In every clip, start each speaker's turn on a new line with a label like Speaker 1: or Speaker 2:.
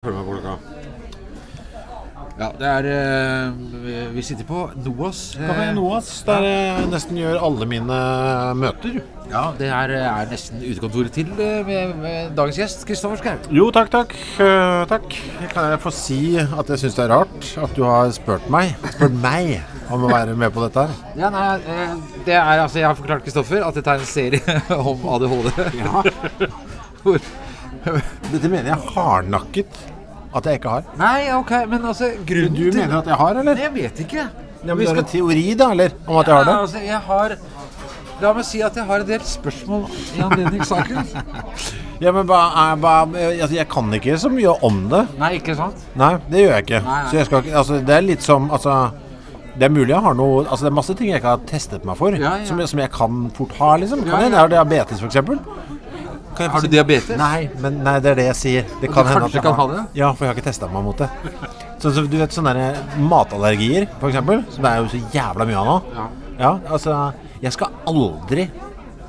Speaker 1: Følg med på klokka. Ja, det er eh, vi- Vi sitter på NOAS. eh,
Speaker 2: Kafé Noas, der jeg nesten gjør alle mine møter.
Speaker 1: Ja, Det her eh, er nesten utekontoret til eh, med, med dagens gjest, Kristoffer Schau.
Speaker 2: Jo, takk, takk. øh, takk. Kan jeg få si at jeg syns det er rart at du har spurt meg, spurt meg om å være med på dette her?
Speaker 1: Ja, nei, eh, det er altså Jeg har forklart Kristoffer at dette er en serie om ADHD. Hvor
Speaker 2: Dette mener jeg hardnakket at jeg ikke har.
Speaker 1: Nei, ok, men altså grunnen
Speaker 2: Du mener at jeg har,
Speaker 1: Nei,
Speaker 2: eller?
Speaker 1: Jeg vet ikke.
Speaker 2: Ja, men
Speaker 1: Vi
Speaker 2: det er
Speaker 1: skal
Speaker 2: en teori, da, eller? Om at jeg har
Speaker 1: Ja,
Speaker 2: det?
Speaker 1: altså, jeg har La meg si at jeg har en del spørsmål i anledning saken.
Speaker 2: Ja, men hva er hva, altså, Jeg kan ikke så mye om det.
Speaker 1: Nei, ikke sant?
Speaker 2: Nei, det gjør jeg ikke.
Speaker 1: Nei, nei.
Speaker 2: Så jeg skal ikke Altså, det er litt som Altså, det er mulig jeg har noe Altså, det er masse ting jeg ikke har testet meg for,
Speaker 1: Ja, ja.
Speaker 2: Som, jeg, som jeg kan fort ha, liksom. Kan
Speaker 1: Ja,
Speaker 2: hende jeg har diabetes, f.eks.
Speaker 1: Har du diabetes?
Speaker 2: Nei, men nei, det er det jeg sier. Det
Speaker 1: du kanskje
Speaker 2: jeg
Speaker 1: kan ha det?
Speaker 2: Ja, for jeg har ikke testa meg mot det. Sånn som du vet sånne der matallergier, f.eks., som det er jo så jævla mye av nå.
Speaker 1: Ja.
Speaker 2: ja. Altså, jeg skal aldri,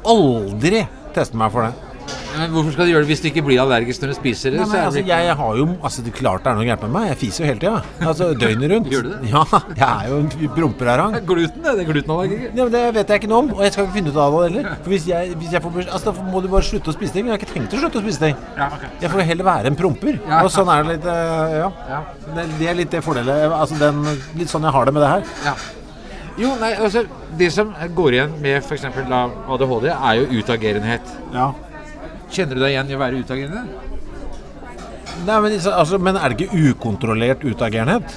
Speaker 2: aldri teste meg for det.
Speaker 1: Men hvorfor skal du gjøre det hvis du ikke blir allergisk når du spiser det?
Speaker 2: Nei, men,
Speaker 1: så er
Speaker 2: altså,
Speaker 1: det
Speaker 2: jeg har jo altså, det er Klart det er noe gærent med meg. Jeg fiser jo hele tida. Altså, døgnet rundt.
Speaker 1: Gjør du det?
Speaker 2: Ja, jeg er jo en promperarang.
Speaker 1: ikke... Gluten, det. Det er glutenallergi.
Speaker 2: Ja, men det vet jeg ikke noe om, og jeg skal ikke finne ut av det heller. For hvis jeg, hvis jeg får bes- altså, Da må du bare slutte å spise ting. Men jeg har ikke tenkt å slutte å spise ting.
Speaker 1: Ja, ok.
Speaker 2: Jeg får heller være en promper.
Speaker 1: Ja.
Speaker 2: Og sånn er det litt eh, Ja.
Speaker 1: Ja.
Speaker 2: Det, det er litt det fordelet Altså den, litt sånn jeg har det med det her.
Speaker 1: ja. Jo, nei, altså Det som går igjen med f.eks. ADHD, er jo utagerenhet.
Speaker 2: Ja.
Speaker 1: Kjenner du deg igjen i å være utagerende?
Speaker 2: Nei, men, så- altså, men er det ikke ukontrollert utagerenhet?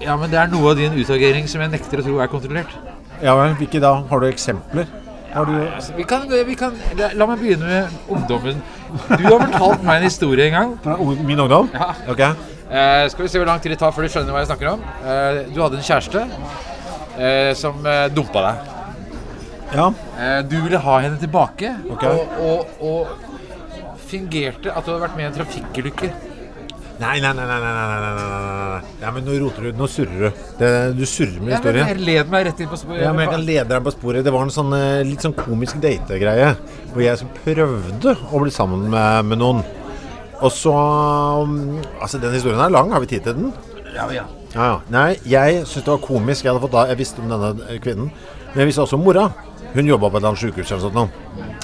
Speaker 1: Ja, men det er noe av din utagering som jeg nekter å tro er kontrollert.
Speaker 2: Ja vel. Hvilke da? Har du eksempler? Har du
Speaker 1: Vi kan, vi kan, la, la meg begynne med ungdommen. Du har fortalt meg en historie en gang.
Speaker 2: Fra ung- min ungdom?
Speaker 1: Ja.
Speaker 2: Ok.
Speaker 1: Eh, skal vi se hvor lang tid det tar før du skjønner hva jeg snakker om. Eh, du hadde en kjæreste eh, som eh, dumpa deg.
Speaker 2: Ja.
Speaker 1: Eh, du ville ha henne tilbake
Speaker 2: Ok.
Speaker 1: og, og, og fingerte at du hadde vært med i en trafikkulykke.
Speaker 2: Nei, nei, nei, nei, nei, nei, nei, nei, nei, nei. Ja, men nå roter du, nå surrer du. Det, du surrer med
Speaker 1: Ja, men Jeg
Speaker 2: historien.
Speaker 1: led meg rett inn på sporet.
Speaker 2: Ja, men jeg kan lede deg på sporet. Det var en sånn eh, litt sånn komisk dategreie. Hvor jeg så prøvde å bli sammen med, med noen. Og så mm, Altså, den historien er lang. Har vi tid til den?
Speaker 1: Ja, ja.
Speaker 2: Ja, ja. Nei, jeg syntes det var komisk. Jeg hadde fått da, jeg visste om denne eh, kvinnen. Men jeg visste også om mora. Hun jobba på et eller annet sykehus eller sånt noe.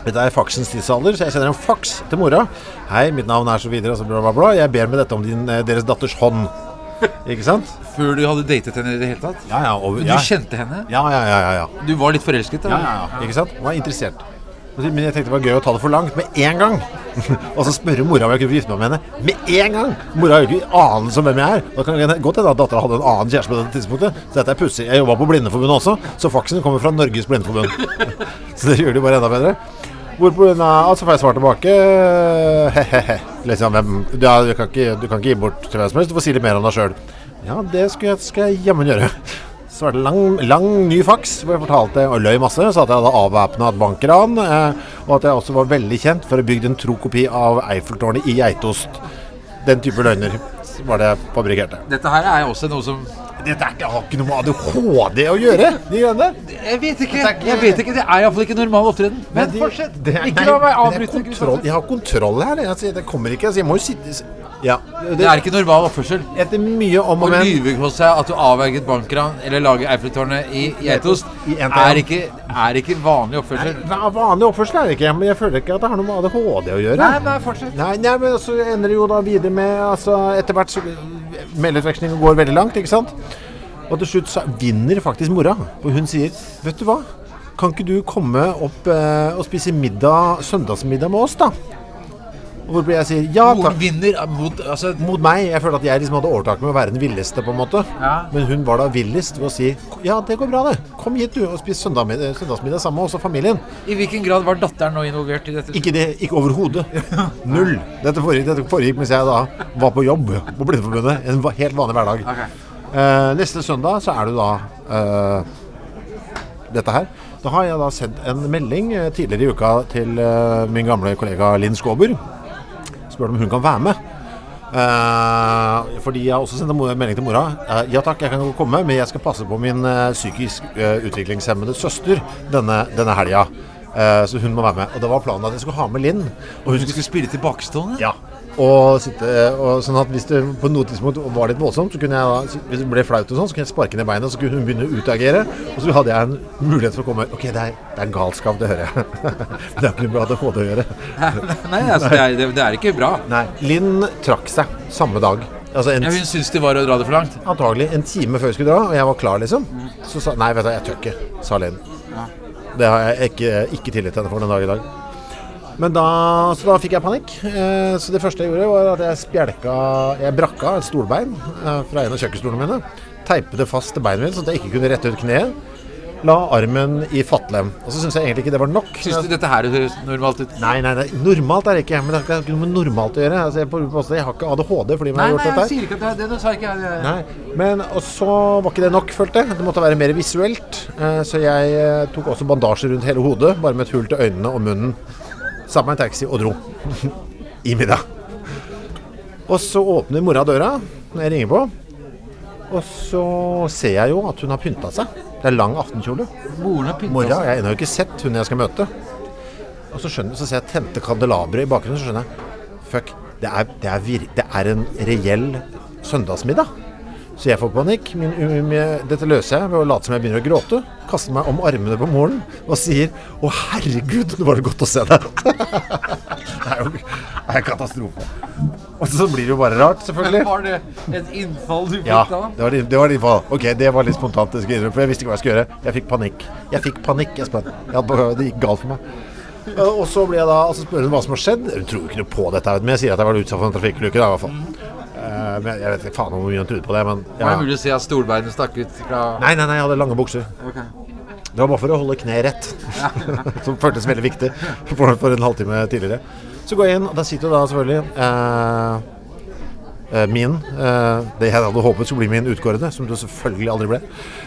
Speaker 2: Dette er faksens tidsalder, så jeg sender en faks til mora. Hei, mitt navn er så videre, og så bla, bla, bla. Jeg ber med dette om din, eh, deres datters hånd. Ikke sant?
Speaker 1: Før du hadde datet henne i det hele tatt?
Speaker 2: Ja, ja. Og,
Speaker 1: Men du
Speaker 2: ja.
Speaker 1: kjente henne?
Speaker 2: Ja, ja, ja, ja, ja.
Speaker 1: Du var litt forelsket? da?
Speaker 2: Ikke sant? Hun var interessert. Men jeg tenkte det var gøy å ta det for langt med en gang. og så spørre mora om jeg kunne få gifte meg med henne med en gang! Mora har jo ikke anelse om hvem jeg er. Da kan det godt hende at dattera hadde en annen kjæreste på dette tidspunktet. Så dette er pussig. Jeg jobba på Blindeforbundet også, så faksen kommer fra Norges Blindeforbund. så det gjør det jo bare enda bedre. Hvorpå hun er Altså får jeg svar tilbake eh, He-he-he. Liksom, hvem du, er, du, kan ikke, du kan ikke gi bort til hvem som helst. Du får si litt mer om deg sjøl. Ja, det skulle jeg, skal jeg jammen gjøre. Så var det lang, lang ny faks hvor jeg fortalte og løy masse. Sa at jeg hadde avvæpna et bankran, eh, og at jeg også var veldig kjent for å ha bygd en tro kopi av Eiffeltårnet i geitost. Den type løgner var det jeg fabrikkerte.
Speaker 1: Dette her er jo også noe som
Speaker 2: Dette er ikke, har ikke noe med ADHD å gjøre, de greiene der.
Speaker 1: Jeg vet ikke!
Speaker 2: Dette er ikke-
Speaker 1: Jeg vet ikke, Det er iallfall ikke normal opptreden. Men
Speaker 2: de-
Speaker 1: fortsett!
Speaker 2: det er-
Speaker 1: Ikke
Speaker 2: nei,
Speaker 1: la meg
Speaker 2: men det er
Speaker 1: avbryte.
Speaker 2: kontroll-
Speaker 1: Kristoffer.
Speaker 2: Jeg har kontroll her. Jeg, sier, det kommer ikke. Så jeg må jo sitte Ja.
Speaker 1: Det er ikke normal oppførsel.
Speaker 2: Etter mye om
Speaker 1: Å
Speaker 2: og men
Speaker 1: lyve hos seg at du avverget bankran eller lager Eiffeltårnet i geitost,
Speaker 2: I en til en.
Speaker 1: er ikke, er ikke vanlig oppførsel.
Speaker 2: Nei, Vanlig oppførsel er det ikke, men jeg føler ikke at det har noe med ADHD å gjøre.
Speaker 1: Nei, nei, fortsett.
Speaker 2: Nei, nei, men så ender det jo da videre med altså, Etter hvert så Meldeutvekslingen går veldig langt, ikke sant? Og til slutt så vinner faktisk mora. Og hun sier Vet du hva? Kan ikke du komme opp eh, og spise middag, søndagsmiddag med oss, da? Og Hvorpå jeg sier ja
Speaker 1: Moren
Speaker 2: takk.
Speaker 1: vinner mot altså,
Speaker 2: Mot meg. Jeg følte at jeg liksom hadde overtaket med å være den villeste, på en måte.
Speaker 1: Ja.
Speaker 2: Men hun var da villest ved å si ja, det går bra, det. Kom hit, du, og spis søndagsmiddag, søndagsmiddag sammen med oss og familien.
Speaker 1: I hvilken grad var datteren nå involvert i dette?
Speaker 2: Ikke det, ikke overhodet. Null. Dette foregikk, dette foregikk mens jeg da var på jobb på Blindeforbundet. En va- helt vanlig hverdag.
Speaker 1: Ok.
Speaker 2: Eh, neste søndag så er det da eh, dette her. Da har jeg da sendt en melding eh, tidligere i uka til eh, min gamle kollega Linn Skåber. Spør om hun kan være med. Eh, fordi jeg har også sendt en mo- melding til mora. Eh, ja takk, jeg kan godt komme, men jeg skal passe på min eh, psykisk eh, utviklingshemmede søster denne, denne helga. Eh, så hun må være med. Og det var planen at jeg skulle ha med Linn. Og hun
Speaker 1: Hun
Speaker 2: skulle
Speaker 1: skulle spille tilbakestående?
Speaker 2: ja. Og sitte, og sånn at hvis det på noe tidspunkt var litt voldsomt, så kunne jeg da, hvis det ble flaut og sånn, så kunne jeg sparke henne i beinet, og så kunne hun begynne å utagere. Og så hadde jeg en mulighet for å komme Ok, det er, det er galskap, det hører jeg. Men det er ikke noe bra til å få det å gjøre.
Speaker 1: Nei, altså, det, er, det, det er ikke bra.
Speaker 2: Nei. Linn trakk seg samme dag. Altså en,
Speaker 1: Ja, hun syns det var å dra det for langt.
Speaker 2: antagelig en time før vi skulle dra, og jeg var klar, liksom. Så sa Nei, vet du, jeg tør ikke, sa Linn. Det har jeg ikke, ikke tillit til henne for den dag i dag. Men da, så da fikk jeg panikk. Eh, Så det første jeg gjorde, var at jeg spjelka Jeg brakka et stolbein eh, fra en av kjøkkenstolene mine. Teipet det fast til beinet mitt, sånn at jeg ikke kunne rette ut kneet. La armen i fattlem. Og så syns jeg egentlig ikke det var nok.
Speaker 1: Syns du dette her høres normalt ut?
Speaker 2: Nei, nei, nei, normalt er det ikke. Men det har ikke noe med normalt å gjøre. Altså, jeg, på, på- jeg har ikke ADHD fordi man har gjort dette. her.
Speaker 1: sier ikke at det, det, det sa ikke jeg.
Speaker 2: Nei, men og så var ikke det nok, følte jeg. Det måtte være mer visuelt. Eh, Så jeg eh, tok også bandasje rundt hele hodet, bare med et hull til øynene og munnen. Satt meg en taxi og dro. I middag. Og så åpner mora døra når jeg ringer på. Og så ser jeg jo at hun har pynta seg. Det er lang aftenkjole.
Speaker 1: Moren har pynta
Speaker 2: Mora
Speaker 1: seg.
Speaker 2: jeg har ennå ikke sett hun jeg skal møte. Og så skjønner så ser jeg tente kandelabre i bakgrunnen, så skjønner jeg Fuck, det er, det er, vir, det er en reell søndagsmiddag. Så jeg får panikk. Min, um- um- dette løser jeg ved å late som jeg begynner å gråte. Kaster meg om armene på moren og sier 'Å, herregud, nå var det godt å se deg'. det er jo det er en katastrofe. Og så blir det jo bare rart, selvfølgelig.
Speaker 1: Var det et innfall du fikk
Speaker 2: Ja,
Speaker 1: da?
Speaker 2: det var, litt- det var litt fall. Ok, det var litt spontant, det skulle jeg innrømme, for jeg visste ikke hva jeg skulle gjøre. Jeg fikk panikk. Jeg fikk panikk, Espen. Jeg hadde, bare- det gikk galt for meg. Eh, Og så ble jeg da, altså spør hun hva som har skjedd. Hun tror jo ikke noe på dette, her, men jeg sier at jeg var utsatt for en trafikkulykke da, i hvert fall. Eh, men jeg- jeg vet ikke faen om hvor mye hun trodde på det, men
Speaker 1: Var det
Speaker 2: ja.
Speaker 1: mulig å se at stolbeinet stakk ut fra
Speaker 2: Nei, nei, nei, jeg hadde lange bukser.
Speaker 1: Ok.
Speaker 2: Det var bare for å holde kneet rett, som føltes veldig viktig for, for en halvtime tidligere. Så går jeg inn, og der sitter jo da selvfølgelig eh, eh, min, eh, det jeg hadde håpet skulle bli min utkårede, som det selvfølgelig aldri ble.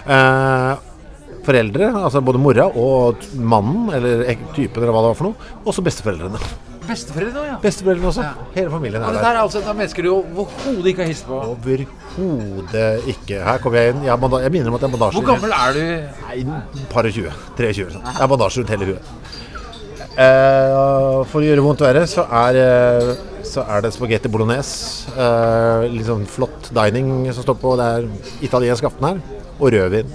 Speaker 2: Eh, foreldre, altså både mora og t- mannen, eller ek- typen eller hva det var for noe, og så besteforeldrene.
Speaker 1: Besteforeldre nå, ja.
Speaker 2: Besteforeldrene også, hele familien
Speaker 1: Og
Speaker 2: er
Speaker 1: dette
Speaker 2: der.
Speaker 1: her er altså et av mennesker du overhodet ikke har hilst på.
Speaker 2: Overhodet ikke. Her kommer jeg inn, jeg, har banda- jeg minner om at jeg har bandasje.
Speaker 1: Hvor gammel er du?
Speaker 2: Nei, par og sånn. 20. 23. eller sånt. Jeg har bandasje rundt hele huet. Eh, for å gjøre vondt verre, så er, eh, så er det spagetti bolognese. eh, litt sånn flott dining som står på. Det er italiensk aften her. Og rødvin.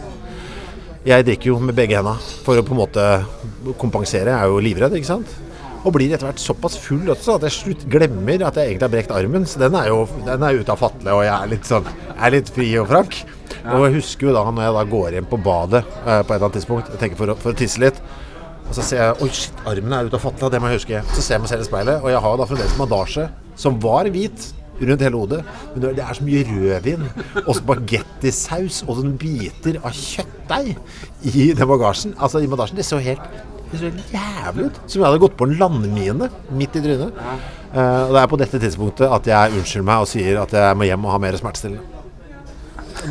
Speaker 2: Jeg drikker jo med begge henda for å på en måte kompensere. Jeg er jo livredd, ikke sant. Og blir etter hvert såpass full også at jeg slutt glemmer at jeg egentlig har brekt armen. Så den er jo den er ute av fatle, og jeg er litt sånn jeg er litt fri og frank. Og jeg husker jo da når jeg da går inn på badet eh, på et eller annet tidspunkt, jeg tenker for å, for å tisse litt, og så ser jeg Oi, shit, armen er ute av fatla, det må jeg huske. Så ser jeg meg selv i speilet, og jeg har da fremdeles bandasje som var hvit rundt hele hodet. Men det er så mye rødvin og spagettisaus og sånne biter av kjøttdeig i den bagasjen. Altså, i bandasjen. Det så helt det så helt jævlig ut. Som om jeg hadde gått på en landmine midt i trynet. Eh, og det er på dette tidspunktet at jeg unnskylder meg og sier at jeg må hjem og ha mer smertestillende.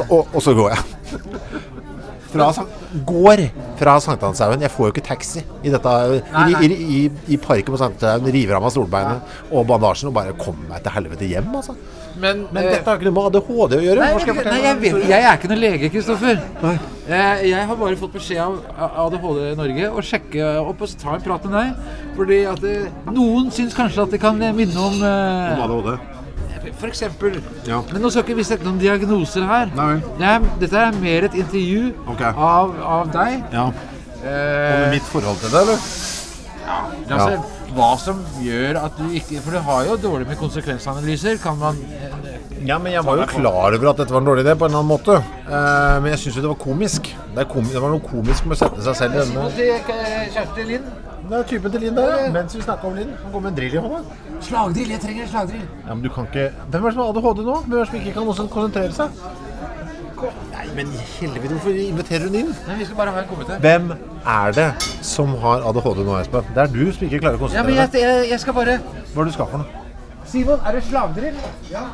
Speaker 2: Og, og så går jeg fra, Sankt- går fra Sankthanshaugen. Jeg får jo ikke taxi i dette
Speaker 1: Nei, nei.
Speaker 2: I, i, i, i parken på Sankthanshaugen. River av meg stolbeinet og bandasjen og bare kommer meg til helvete hjem, altså.
Speaker 1: Men,
Speaker 2: Men
Speaker 1: eh,
Speaker 2: dette har ikke noe med ADHD å gjøre.
Speaker 1: Nei,
Speaker 2: Hvorfor skal jeg
Speaker 1: jeg, nei
Speaker 2: fortelle
Speaker 1: jeg,
Speaker 2: deg?
Speaker 1: vet, jeg er ikke noen lege, Kristoffer. Eh, Jeg har bare fått beskjed av ADHD Norge å sjekke opp og så ta en prat med deg. Fordi at eh, noen syns kanskje at det kan eh, minne om eh,
Speaker 2: ADHD.
Speaker 1: For eksempel.
Speaker 2: Ja.
Speaker 1: Men nå skal ikke vi sette noen diagnoser her.
Speaker 2: Nei vel.
Speaker 1: Det er, dette er mer et intervju
Speaker 2: Ok.
Speaker 1: av, av deg.
Speaker 2: Ja.
Speaker 1: Eh,
Speaker 2: Mitt forhold til det, eller?
Speaker 1: altså, Hva som gjør at du ikke For du har jo dårlig med konsekvensanalyser. Kan man eh,
Speaker 2: Ja, men jeg var jo klar over at dette var en dårlig idé på en eller annen måte. Eh, men jeg syns jo det var komisk. Det, er komi det var noe komisk med å sette seg selv i denne
Speaker 1: Kjersti Lind.
Speaker 2: Det er typen til Linn der, ja. Mens vi snakker om Linn, han går med en drill i hånda.
Speaker 1: Slagdrill. Jeg trenger en slagdrill.
Speaker 2: Ja, men du kan ikke Hvem er det som har ADHD nå? Hvem er det som ikke kan også konsentrere seg? Nei, men i helvete, hvorfor inviterer hun inn?
Speaker 1: Nei, vi skal bare ha en kommentar.
Speaker 2: Hvem er det som har ADHD nå, Espen? Det er du som ikke klarer å
Speaker 1: Ja, men
Speaker 2: konsentrere
Speaker 1: jeg, jeg, jeg skal bare
Speaker 2: deg. Hva er det du skal for noe?
Speaker 1: Simon, er det slagdrill? Ja.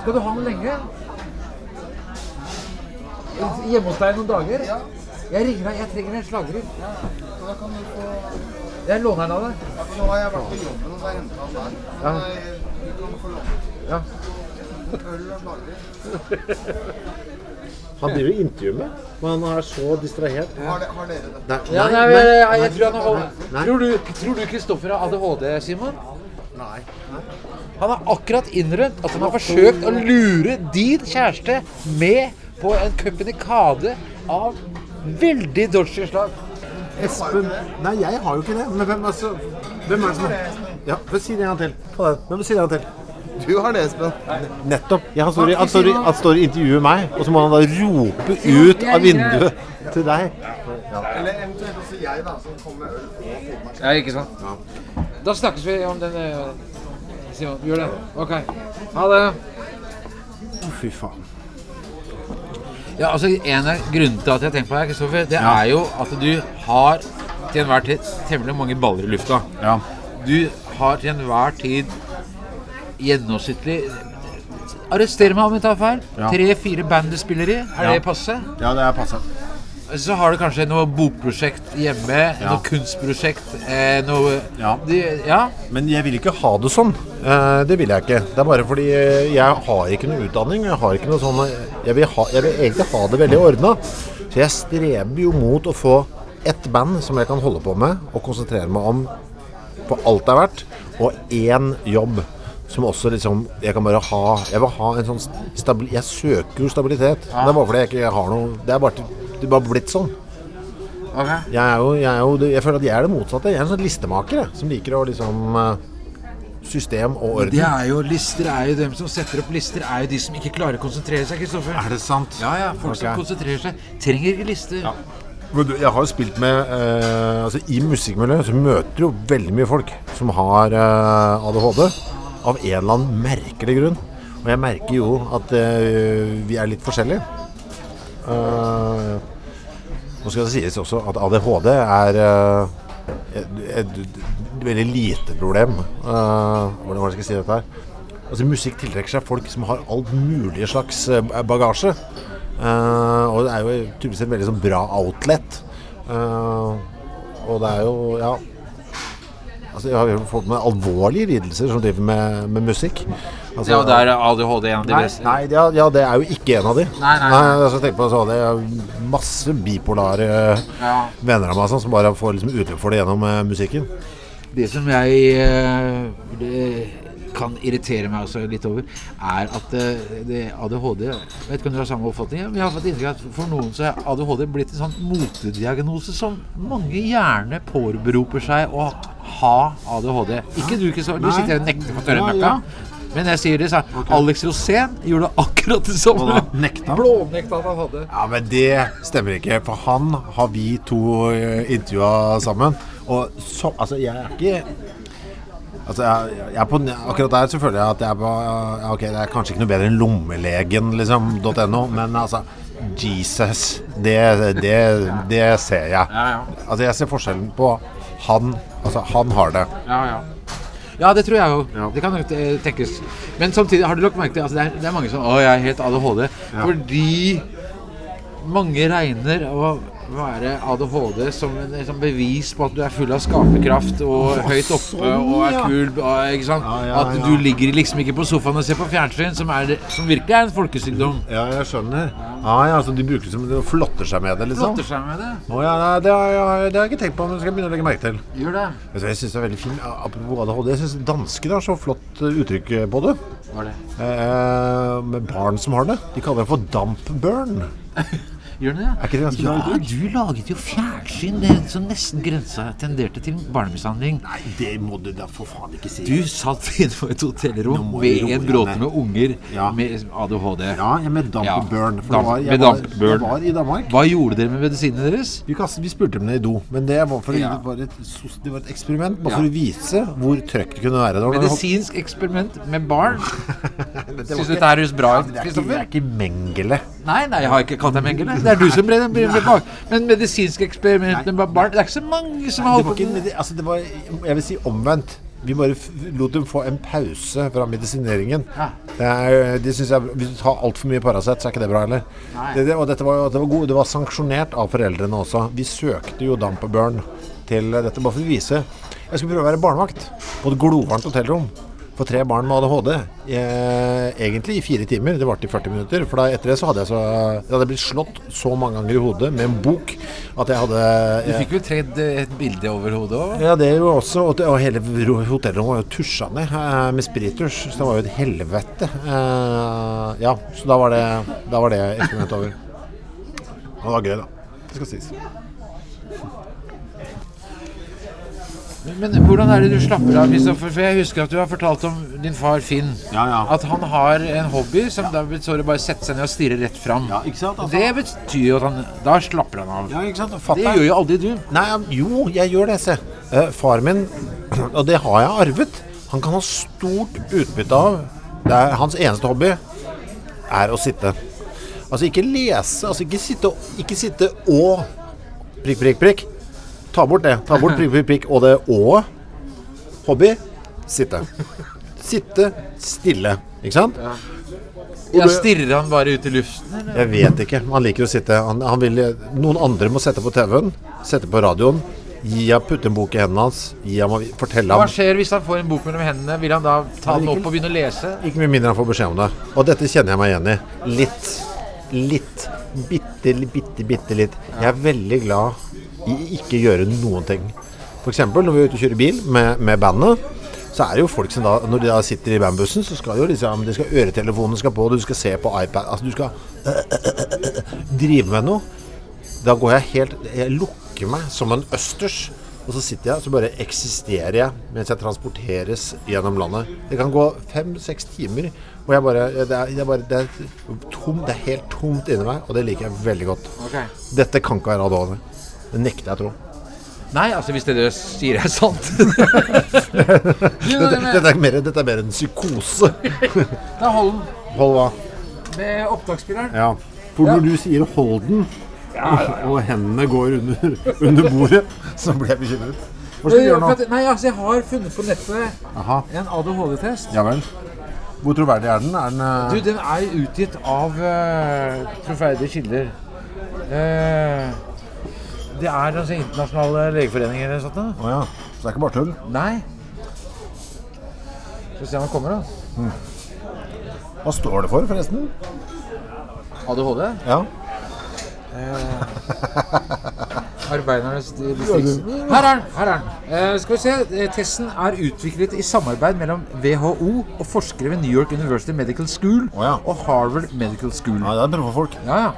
Speaker 1: Skal du ha den lenge? Hjemme hos deg noen dager? Ja. Jeg ringer deg. Jeg trenger en slagdrill. Ja. Jeg låner den av deg.
Speaker 3: Nå har jeg vært i jobben og så har jeg hentet han der. Men eh, du kan få lov.
Speaker 1: Ja.
Speaker 3: Øl og slagere.
Speaker 2: Han driver og intervjuer meg, og han er så distrahert.
Speaker 3: Har, de- har dere det?
Speaker 2: Nei,
Speaker 1: Ja, nei, men, jeg, jeg tror han har
Speaker 2: nei.
Speaker 1: Tror du- Tror du Kristoffer har ADHD, Simon?
Speaker 2: Nei.
Speaker 1: Han har akkurat innrømt at han har forsøkt å lure din kjæreste med på en køppenikade av veldig dodgy slag.
Speaker 2: Espen Nei, jeg har jo ikke det. Men hvem, altså, hvem er det som Ja, få si det en gang til. Få den. Hvem sier det en gang til?
Speaker 3: Du har det, Espen.
Speaker 2: Nettopp. Ja, han, står i, han, står i, han står og intervjuer meg, og så må han da rope ut av vinduet til deg.
Speaker 3: Eller eventuelt også jeg, da, som kommer med øl på Finnmark.
Speaker 1: Ja, ikke sant? Da snakkes vi om den Simon, gjør det. Ok. Ha det.
Speaker 2: Å, fy faen.
Speaker 1: Ja, altså En av grunnene til at jeg tenker på deg, Kristoffer, det er jo at du har til enhver tid temmelig mange baller i lufta.
Speaker 2: Ja.
Speaker 1: Du har til enhver tid gjennomsnittlig Arrester meg om jeg tar feil.
Speaker 2: Ja.
Speaker 1: Tre-fire band du spiller i. Er
Speaker 2: Ja.
Speaker 1: det passe?
Speaker 2: ja, det er passe.
Speaker 1: Så har du kanskje noe bokprosjekt hjemme,
Speaker 2: Ja.
Speaker 1: noe kunstprosjekt, eh, noe
Speaker 2: Ja.
Speaker 1: De, ja.
Speaker 2: Men jeg vil ikke ha det sånn. Eh, det vil jeg ikke. Det er bare fordi eh, jeg har ikke noe utdanning. Jeg har ikke noe sånn eh, Jeg vil, ha, jeg vil egentlig ha det veldig ordna. Så jeg streber jo mot å få ett band som jeg kan holde på med og konsentrere meg om på alt det er verdt, og én jobb som også liksom Jeg kan bare ha Jeg vil ha en sånn stabil... Jeg søker jo stabilitet. Det er bare fordi jeg ikke har noe Det er bare, det er bare blitt sånn.
Speaker 1: Ok.
Speaker 2: Jeg, er jo, jeg, er jo, jeg føler at jeg er det motsatte. Jeg er en sånn listemaker jeg, som liker å liksom eh, System og orden.
Speaker 1: Det er jo lister er jo dem som setter opp lister, er jo de som ikke klarer å konsentrere seg, Kristoffer.
Speaker 2: det sant?
Speaker 1: Ja, ja. Folk som konsentrerer seg, trenger ikke lister.
Speaker 2: Ja. Men du, jeg har jo spilt med eh, altså, I musikkmiljøet så møter du jo veldig mye folk som har eh, ADHD. Av en eller annen merkelig grunn. Og jeg merker jo at eh, vi er litt forskjellige. Eh, nå skal det sies også at ADHD er eh, et, et, et veldig lite problem. Eh, hvordan var det jeg skal si dette her? Altså, musikk tiltrekker seg folk som har alt mulig slags eh, bagasje. Eh, og det er jo tydeligvis et veldig sånn bra outlet. Eh, og det er jo ja. Altså, jeg har jo fått med alvorlige lidelser som driver med, med musikk. Altså,
Speaker 1: Ja, og der er ADHD en av de
Speaker 2: Nei,
Speaker 1: beste.
Speaker 2: nei ja, ja, det er jo ikke en av de.
Speaker 1: Nei, nei, nei.
Speaker 2: altså, tenk på sånn, det er masse bipolare
Speaker 1: Ja.
Speaker 2: venner av meg sånn, som bare får liksom, utløp for det gjennom eh, musikken.
Speaker 1: Det som jeg eh, det kan irritere meg også litt over, er at eh, det ADHD Jeg vet ikke om du har samme oppfatning, men jeg har fått inntrykk av at for noen så er ADHD blitt en sånn motediagnose som mange gjerne påberoper seg å ha ADHD. Ikke du, Kristoffer. Du
Speaker 2: Nei.
Speaker 1: sitter her og nekter på
Speaker 2: Ja,
Speaker 1: tørre møkka.
Speaker 2: ja.
Speaker 1: Men jeg sier det, sa Alex Rosén gjorde akkurat det samme.
Speaker 2: Hva da? Nekta?
Speaker 1: Blånekta at han hadde.
Speaker 2: Ja, men det stemmer ikke, for han har vi to eh, intervjua sammen. Og så, altså, jeg er ikke Altså, jeg, jeg er på, akkurat der så føler jeg at jeg er på ja, Ok, det er kanskje ikke noe bedre enn lommelegen, liksom, .no, men altså Jesus, det, det, det ser jeg.
Speaker 1: ja.
Speaker 2: Altså, jeg ser forskjellen på han Altså, han har det.
Speaker 1: Ja, ja. Ja, det tror jeg jo.
Speaker 2: Ja.
Speaker 1: Det kan nok eh, tenkes. Men samtidig har du lagt merke til altså, det, er, det er mange som Å, jeg er helt ADHD. Fordi mange regner å være ADHD som, en, som bevis på at du er full av skaperkraft og høyt oppe
Speaker 2: sånn,
Speaker 1: og er
Speaker 2: ja.
Speaker 1: kul. Og, eh, ikke sant?
Speaker 2: Ja, ja,
Speaker 1: At
Speaker 2: ja.
Speaker 1: du ligger liksom ikke på sofaen og ser på fjernsyn, som, er, det- som virkelig er en folkesykdom.
Speaker 2: Ja, jeg skjønner. Ja, ja, altså, de bruker det som de flotter seg med det, liksom.
Speaker 1: Flotter seg med det.
Speaker 2: Å, ja, nei, det, har jeg- det har jeg ikke tenkt på, men det skal jeg begynne å legge merke til.
Speaker 1: Gjør det.
Speaker 2: Altså, jeg synes det er veldig fint, apropos ADHD, jeg synes danskene har så flott eh, uttrykk på det.
Speaker 1: Var det.
Speaker 2: Eh, med barn som har det. De kaller det for dampburn.
Speaker 1: Gjør den det?
Speaker 2: Er ikke det ganske
Speaker 1: ja,
Speaker 2: bra uttrykk?
Speaker 1: du laget jo fjernsyn det, som nesten grensa tenderte til barnemishandling.
Speaker 2: Nei, det må du da for faen ikke si.
Speaker 1: Du satt inne på et hotellrom
Speaker 2: Nå må vi
Speaker 1: ved
Speaker 2: roe
Speaker 1: en
Speaker 2: ned.
Speaker 1: gråtende med unger
Speaker 2: Ja.
Speaker 1: med ADHD.
Speaker 2: Ja, jeg med dampburn. For
Speaker 1: Damp-
Speaker 2: det var, jeg,
Speaker 1: med
Speaker 2: var,
Speaker 1: dampburn.
Speaker 2: jeg var i Danmark.
Speaker 1: Hva gjorde dere med medisinene deres?
Speaker 2: Vi, kastet, vi spurte dem ned i do, men det var, for,
Speaker 1: Ja.
Speaker 2: det var, et, sos- det var et eksperiment bare
Speaker 1: Ja.
Speaker 2: for å vise hvor trøkk det kunne være. Det var- sånn
Speaker 1: Medisinsk eksperiment med barn?
Speaker 2: det var
Speaker 1: Syns du
Speaker 2: ikke-
Speaker 1: dette høres bra ut,
Speaker 2: det er ikke, det
Speaker 1: Kristoffer?
Speaker 2: er ikke Mengele.
Speaker 1: Nei, nei, jeg har ikke kalt deg Mengele. Det er du som ble ble- ble bak. Men medisinsk eksperiment med barn Det er ikke så mange som har
Speaker 2: Det var
Speaker 1: holdt på
Speaker 2: ikke,
Speaker 1: med det.
Speaker 2: medi- altså det var, jeg vil si omvendt. Vi bare f lot dem få en pause fra medisineringen.
Speaker 1: Ja.
Speaker 2: Det er, de synes jeg, hvis du tar altfor mye Paracet, så er ikke det bra heller.
Speaker 1: Nei.
Speaker 2: Det, det, og dette var, jo- det, var god, det var sanksjonert av foreldrene også. Vi søkte jo Damperbørn til dette, bare for å vise. Jeg skulle prøve å være barnevakt på et glovarmt hotellrom. for tre barn med ADHD eh, egentlig i fire timer. Det varte i 40 minutter. For da etter det så hadde jeg så Jeg hadde blitt slått så mange ganger i hodet med en bok at jeg hadde
Speaker 1: Du
Speaker 2: jeg,
Speaker 1: fikk vel tredd eh, et bilde over hodet òg?
Speaker 2: ja, det er jo også, og, det- og hele ro- hotellrommet var jo tusja ned eh, med spiritus, så det var jo et helvete. Eh, ja, så da var det, da var det eksperimentet over. Og det var gøy, da. Det skal sies.
Speaker 1: Men hvordan er det du slapper av, Kristoffer? For jeg husker at du har fortalt om din far Finn.
Speaker 4: Ja, ja.
Speaker 1: At han har en hobby som da består i å bare sette seg ned og stirre rett fram.
Speaker 4: Ja, ikke sant? Altså-
Speaker 1: Det betyr jo at han Da slapper han av.
Speaker 4: Ja, ikke sant?
Speaker 1: Det
Speaker 4: Fatter'n
Speaker 1: gjør jo aldri du.
Speaker 2: Nei, ja, jo, jeg gjør det, se. Eh, far min, og det har jeg arvet, han kan ha stort utbytte av. Det er hans eneste hobby er å sitte. Altså ikke lese, altså ikke sitte, ikke sitte og prikk, prikk, prikk. Ta bort det. Ta bort prikk, prikk, prikk og det og. Hobby sitte. Sitte stille, ikke sant?
Speaker 1: Ja, stirrer han bare ut i luften? Eller?
Speaker 2: Jeg vet ikke. Han liker å sitte han, han vil, Noen andre må sette på TV-en, sette på radioen. Gi ham, putte en bok i hendene hans. Gi ham, avi- fortelle
Speaker 1: Hva
Speaker 2: ham.
Speaker 1: skjer hvis han får en bok mellom hendene? Vil han da ta den
Speaker 2: ikke-
Speaker 1: opp og begynne å lese?
Speaker 2: Ikke med mindre han får beskjed om det. Og dette kjenner jeg meg igjen i. Litt. Litt. Bitte, li- bitte, bitte litt. Jeg er veldig glad i ikke gjøre noen ting. F.eks. når vi er ute og kjører bil med, med bandet, så er det jo folk som da, når de da sitter i bandbussen, så skal jo liksom de skal, Øretelefonene skal på, du skal se på iPad Altså, du skal drive med noe. Da går jeg helt Jeg lukker meg som en østers. Og så sitter jeg, så bare eksisterer jeg mens jeg transporteres gjennom landet. Det kan gå fem-seks timer, og jeg bare, det, er, det, er bare det, er tom, det er helt tomt inni meg, og det liker jeg veldig godt.
Speaker 1: Ok.
Speaker 2: Dette kan ikke være ADHD. Det nekter jeg å tro.
Speaker 1: Nei, altså hvis det dere sier er sant. Jo,
Speaker 2: Dette,
Speaker 1: men-
Speaker 2: dette, er mer, dette er mer en psykose.
Speaker 1: Da hold den
Speaker 2: Hold hva?
Speaker 1: med opptaksspilleren.
Speaker 4: Ja. For når du sier 'hold den', og hendene går under, under bordet
Speaker 2: Så ble jeg bekymret.
Speaker 4: Hva skal du gjøre nå?
Speaker 1: Nei, altså jeg har funnet på nettet
Speaker 4: Aha.
Speaker 1: en ADHD-test.
Speaker 4: Ja vel.
Speaker 2: Hvor troverdig er den? Er den eh,
Speaker 1: Du, den er utgitt av uh, troferdige kilder. Eh, det er altså internasjonale legeforeninger eller sånt da.
Speaker 2: Å ja. Så det er ikke bare tull?
Speaker 1: Nei. Skal vi se om han kommer da.
Speaker 2: Hva står det for, forresten?
Speaker 1: ADHD?
Speaker 2: Ja.
Speaker 1: Arbeidernes distrikt. Her er den! her er den. Eh, skal vi se. eh, Testen er utviklet i samarbeid mellom WHO og forskere ved New York University Medical School
Speaker 2: Å ja.
Speaker 1: og Harvard Medical School.
Speaker 2: ja det er bra for folk.
Speaker 1: Ja, ja.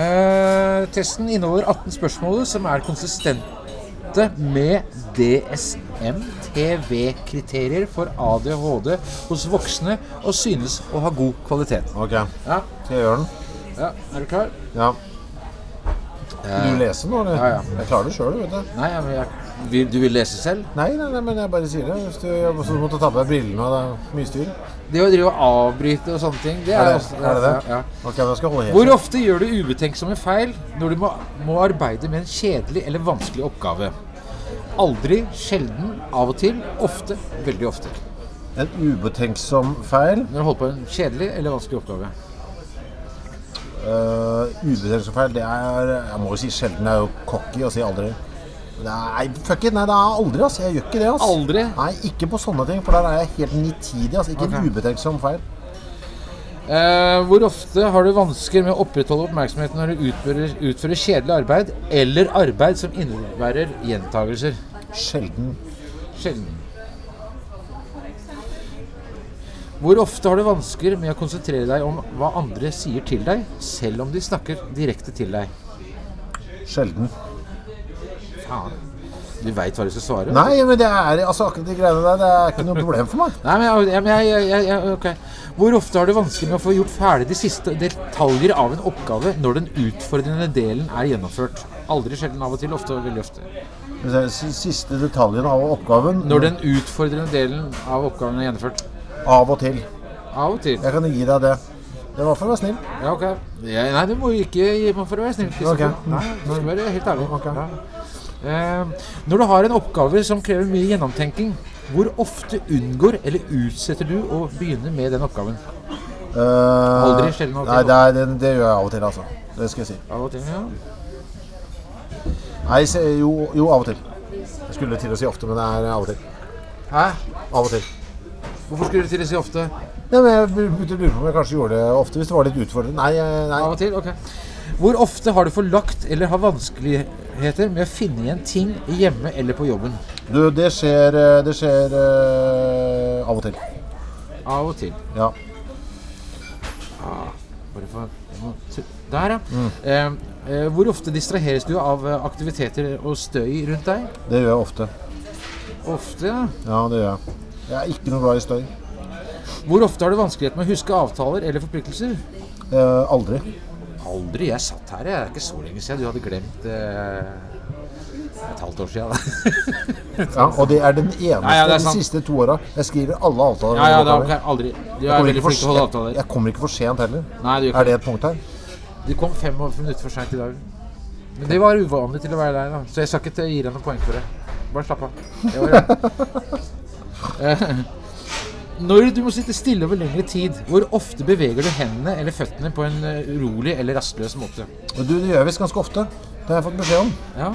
Speaker 1: Eh, testen inneholder 18 spørsmål som er konsistente med DSM-TV-kriterier for ADHD hos voksne og synes å ha god kvalitet.
Speaker 2: Ok,
Speaker 1: Ja,
Speaker 2: skal jeg gjøre den?
Speaker 1: ja. Er du klar?
Speaker 2: Ja. Vil du lese nå, eller?
Speaker 1: Ja, ja.
Speaker 2: Jeg klarer det sjøl, vet du.
Speaker 1: Nei, ja, men jeg, vil, du vil lese selv?
Speaker 2: Nei, nei, nei, men jeg bare sier det. Hvis du også måtte ta på deg brillene, og det er mye styr.
Speaker 1: Det å drive og avbryte og sånne ting, det er,
Speaker 2: Er det-
Speaker 1: også,
Speaker 2: er det det?
Speaker 1: Ja, ja.
Speaker 2: Ok, da skal jeg holde
Speaker 1: Hvor
Speaker 2: helt
Speaker 1: ofte gjør du ubetenksomme feil når du må, må arbeide med en kjedelig eller vanskelig oppgave? Aldri, sjelden, av og til, ofte, veldig ofte.
Speaker 2: En ubetenksom feil.
Speaker 1: Når du holder på med en kjedelig eller vanskelig oppgave.
Speaker 2: Eh, ubetenksom feil, det er Jeg må jo si sjelden. Jeg er jo cocky og sier aldri. Nei, fuck it. Nei, det er aldri, ass. Jeg gjør ikke det, ass.
Speaker 1: Aldri?
Speaker 2: Nei, ikke på sånne ting, for der er jeg helt nitidig, ass. Ikke
Speaker 1: Ok.
Speaker 2: en ubetenksom feil.
Speaker 1: Eh, hvor ofte har du vansker med å opprettholde oppmerksomheten når du utfører, utfører kjedelig arbeid eller arbeid som innebærer gjentagelser?
Speaker 2: Sjelden.
Speaker 1: Sjelden. Hvor ofte har du vansker med å konsentrere deg om hva andre sier til deg, selv om de snakker direkte til deg?
Speaker 2: Sjelden.
Speaker 1: Faen. Du veit hva du skal svare?
Speaker 2: Nei, men det er altså akkurat de greiene der. Det er ikke noe problem for meg.
Speaker 1: Nei, men, jeg, jeg, jeg, jeg, jeg, ok. Hvor ofte har du vansker med å få gjort ferdig de siste detaljer av en oppgave når den utfordrende delen er gjennomført? Aldri sjelden, av og til, ofte og veldig ofte.
Speaker 2: S- Siste detaljen av oppgaven
Speaker 1: Når den utfordrende delen av oppgaven er gjennomført.
Speaker 2: Av og til.
Speaker 1: Av og til.
Speaker 2: Jeg kan gi deg det. Det var for å være snill.
Speaker 1: Ja, ok. Jeg, nei, du må jo ikke gi meg for å være snill. Kristoffer.
Speaker 2: Ok.
Speaker 1: Nei, du skal være helt ærlig.
Speaker 2: Ok.
Speaker 1: Ja. Eh, når du har en oppgave som krever mye gjennomtenking, hvor ofte unngår eller utsetter du å begynne med den oppgaven?
Speaker 2: Eh,
Speaker 1: Aldri, sjelden av og til.
Speaker 2: Nei, det, er, det, det gjør jeg av og til, altså. Det skal jeg si.
Speaker 1: Av og til, ja.
Speaker 2: Nei, se, jo, jo, av og til. Jeg skulle til å si ofte, men det er av og til.
Speaker 1: Hæ?
Speaker 2: Av og til.
Speaker 1: Hvorfor skulle du til å si ofte?
Speaker 2: Nei, men jeg begynte å lure på om jeg kanskje gjorde det ofte hvis det var litt utfordrende. Nei, jeg- nei.
Speaker 1: Av og til? Ok. Hvor ofte har du forlagt eller har vanskeligheter med å finne igjen ting hjemme eller på jobben?
Speaker 2: Du, det skjer, eh, det skjer eh, av og til.
Speaker 1: Av og til.
Speaker 2: Ja.
Speaker 1: Bare for, jeg må tr- der, ja. Eh, eh, hvor ofte distraheres du av eh, aktiviteter og støy rundt deg?
Speaker 2: Det gjør jeg ofte.
Speaker 1: Ofte, ja.
Speaker 2: Ja, det gjør jeg. Jeg er ikke noe glad i støy.
Speaker 1: Hvor ofte har du vanskeligheter med å huske avtaler eller forpliktelser?
Speaker 2: Eh, aldri.
Speaker 1: Aldri. Jeg satt her, jeg. Det er ikke så lenge siden du hadde glemt eh, et halvt år siden. Da.
Speaker 2: Ja, og det er den eneste
Speaker 1: ja, det er
Speaker 2: de
Speaker 1: sant.
Speaker 2: siste to åra. Jeg skriver alle avtaler.
Speaker 1: Ja, ja,
Speaker 2: jeg
Speaker 1: da,
Speaker 2: kommer.
Speaker 1: ok, aldri. Du
Speaker 2: Jeg
Speaker 1: er
Speaker 2: kommer
Speaker 1: veldig
Speaker 2: ikke for
Speaker 1: flink til å holde
Speaker 2: sent-
Speaker 1: avtaler.
Speaker 2: Jeg kommer ikke for sent heller.
Speaker 1: Nei, du
Speaker 2: Er
Speaker 1: gjør ikke
Speaker 2: det
Speaker 1: det.
Speaker 2: et punkt her?
Speaker 1: Du kom fem og- minutter for seint i dag. Men det var uvanlig til å være deg, da. Så jeg skal ikke til- gi deg noen poeng for det. Bare slapp av. Det var bra. Eh, Når du må sitte stille over lengre tid, hvor ofte beveger du hendene eller føttene på en eh, urolig eller rastløs måte?
Speaker 2: Men du, det gjør jeg visst ganske ofte. Det har jeg fått beskjed om.
Speaker 1: Ja.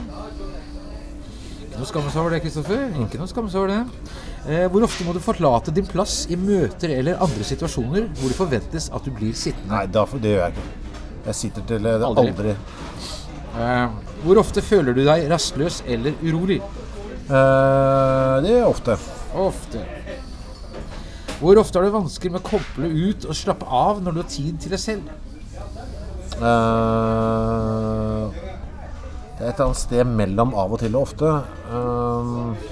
Speaker 1: Ikke noe skamme seg over det, Kristoffer. Ikke noe skamme seg over det. Eh, hvor ofte må du forlate din plass i møter eller andre situasjoner hvor det forventes at du blir sittende?
Speaker 2: Nei, da, får- det gjør jeg ikke. Jeg sitter til det, er
Speaker 1: Aldri.
Speaker 2: aldri.
Speaker 1: Eh, hvor ofte føler du deg rastløs eller urolig?
Speaker 2: Eh, det gjør jeg ofte.
Speaker 1: Ofte. Hvor ofte har du vansker med å koble ut og slappe av når du har tid til deg selv?
Speaker 2: Eh, det er et eller annet sted mellom av og til og ofte. Eh,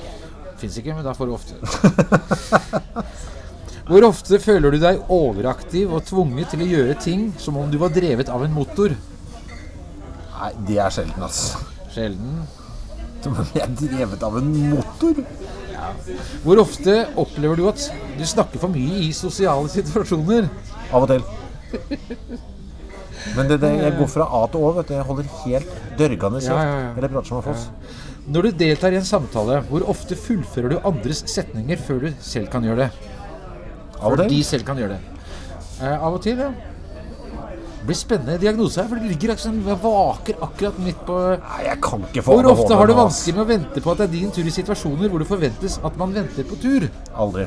Speaker 1: Fins ikke, men da får du ofte. Hvor ofte føler du deg overaktiv og tvunget til å gjøre ting som om du var drevet av en motor?
Speaker 2: nei, det er sjelden, ass.
Speaker 1: Sjelden.
Speaker 2: Som om jeg er drevet av en motor.
Speaker 1: Hvor ofte opplever du at du snakker for mye i sosiale situasjoner?
Speaker 2: Av og til. Men det, det, jeg går fra A til Å, vet du. Jeg holder helt dørgende kjeft.
Speaker 1: Ja, ja, ja.
Speaker 2: Eller prater som en foss.
Speaker 1: Når du deltar i en samtale, hvor ofte fullfører du andres setninger før du selv kan gjøre det?
Speaker 2: Av og
Speaker 1: Før de
Speaker 2: til.
Speaker 1: selv kan gjøre det. Eh, av og til, ja. Det blir spennende diagnose her, for det ligger liksom jeg vaker akkurat midt på
Speaker 2: Nei, jeg kan ikke få
Speaker 1: Hvor ofte har du
Speaker 2: ADHD nå, ass.
Speaker 1: vanskelig med å vente på at det er din tur i situasjoner hvor det forventes at man venter på tur?
Speaker 2: Aldri.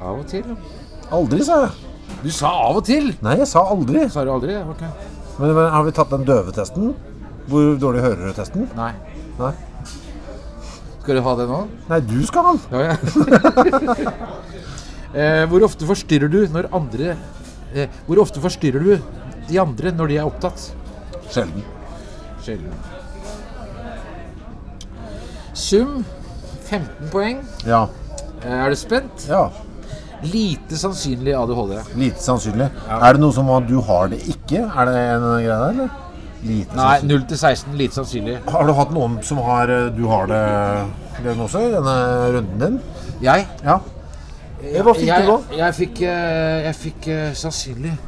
Speaker 1: Av og til, ja.
Speaker 2: Aldri, sa jeg.
Speaker 1: Du sa av og til!
Speaker 2: Nei, jeg sa aldri.
Speaker 1: Sa du aldri? Ok.
Speaker 2: Men, men har vi tatt den døvetesten? Hvor dårlig hører du-testen?
Speaker 1: Nei.
Speaker 2: Nei.
Speaker 1: Skal du ha det nå?
Speaker 2: Nei, du skal han.
Speaker 1: Ja, ja. eh, hvor ofte forstyrrer du når andre eh, Hvor ofte forstyrrer du de andre når de er opptatt?
Speaker 2: Sjelden.
Speaker 1: Sjelden. Sum 15 poeng.
Speaker 2: Ja.
Speaker 1: Eh, er du spent?
Speaker 2: ja.
Speaker 1: Lite sannsynlig ADHD.
Speaker 2: Lite sannsynlig. Er det noe som at du har det ikke? Er det en greie der, eller? Lite
Speaker 1: Nei,
Speaker 2: sannsynlig.
Speaker 1: 0 til 16. Lite sannsynlig.
Speaker 2: Har du hatt noen som har eh, Du har det diagnose i denne runden din?
Speaker 1: Jeg?
Speaker 2: Ja. Eh, Hva fikk
Speaker 1: jeg,
Speaker 2: du nå?
Speaker 1: Jeg fikk, eh, jeg fikk eh, sannsynlig.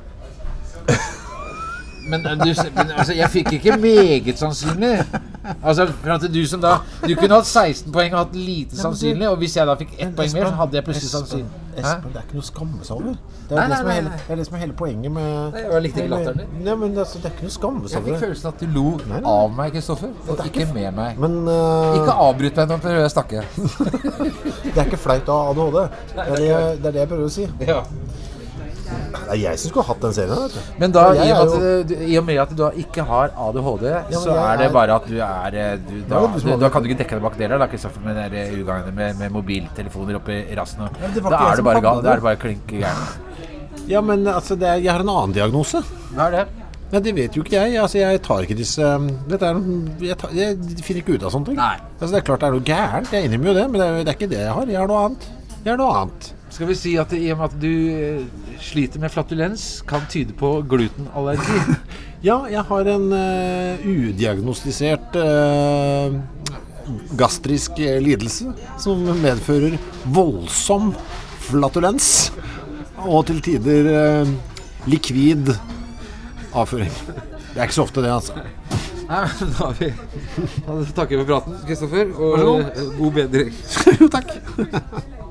Speaker 1: Men, eh, du, s- men altså, jeg fikk ikke meget sannsynlig. Altså, for at du som da Du kunne hatt 16 poeng og hatt lite sannsynlig, og hvis jeg da fikk ett poeng mer, så hadde jeg plutselig sannsynlig. Hæ?
Speaker 2: Espen, det er ikke noe å skamme seg over. Det er, det,
Speaker 1: Nei, nei,
Speaker 2: som er
Speaker 1: nei,
Speaker 2: hele,
Speaker 1: nei.
Speaker 2: det er det som er hele poenget med
Speaker 1: Nei, jeg likte ikke latteren din.
Speaker 2: Nei, men altså, det er ikke noe å skamme
Speaker 1: Jeg
Speaker 2: seg
Speaker 1: fikk
Speaker 2: over.
Speaker 1: følelsen at du lo
Speaker 2: Nei, nei.
Speaker 1: av meg, Kristoffer, og ikke med meg.
Speaker 2: Men eh,
Speaker 1: Ikke avbryt meg nå, prøver jeg å snakke.
Speaker 2: det er ikke flaut av ADHD. Det er det, jeg- det er det jeg prøver å si. Det er jeg som skulle hatt den serien. Vet du.
Speaker 1: Men da,
Speaker 2: Ja,
Speaker 1: i
Speaker 2: jeg
Speaker 1: og,
Speaker 2: er
Speaker 1: med at, du- i og med at du da ikke har ADHD,
Speaker 2: men
Speaker 1: så
Speaker 2: jeg
Speaker 1: er det
Speaker 2: er-
Speaker 1: bare at du er eh, du, da,
Speaker 2: Ja, du som
Speaker 1: du,
Speaker 2: hadde-
Speaker 1: da kan du ikke dekke deg bak deler, da, Kristoffer, med de der ugagnene med, med mobiltelefoner oppi rassen. Og,
Speaker 2: men det var
Speaker 1: da
Speaker 2: ikke jeg
Speaker 1: er du
Speaker 2: som
Speaker 1: bare
Speaker 2: hadde
Speaker 1: gal.
Speaker 2: det.
Speaker 1: Da er du bare klink gæren.
Speaker 2: Ja, men altså, det er, jeg har en annen diagnose.
Speaker 1: Hva er det?
Speaker 2: Nei, Det vet jo ikke jeg. Altså, jeg tar ikke disse um, vet du, jeg, tar, jeg finner ikke ut av sånne ting.
Speaker 1: Nei.
Speaker 2: Altså, det er klart det er noe gærent. Jeg innrømmer jo det, men det er, jo- det er ikke det jeg har. Jeg har noe annet. Jeg har noe annet.
Speaker 1: Skal vi si at i og med at du eh, sliter med flatulens, kan tyde på glutenallergi?
Speaker 2: Ja, jeg har en eh, udiagnostisert eh, gastrisk eh, lidelse som medfører voldsom flatulens og til tider eh, likvid avføring. Det er ikke så ofte det, altså.
Speaker 1: Nei, men da har vi da takker vi for praten, Kristoffer,
Speaker 2: Vær så
Speaker 1: og eh, god bedring.
Speaker 2: Jo, takk.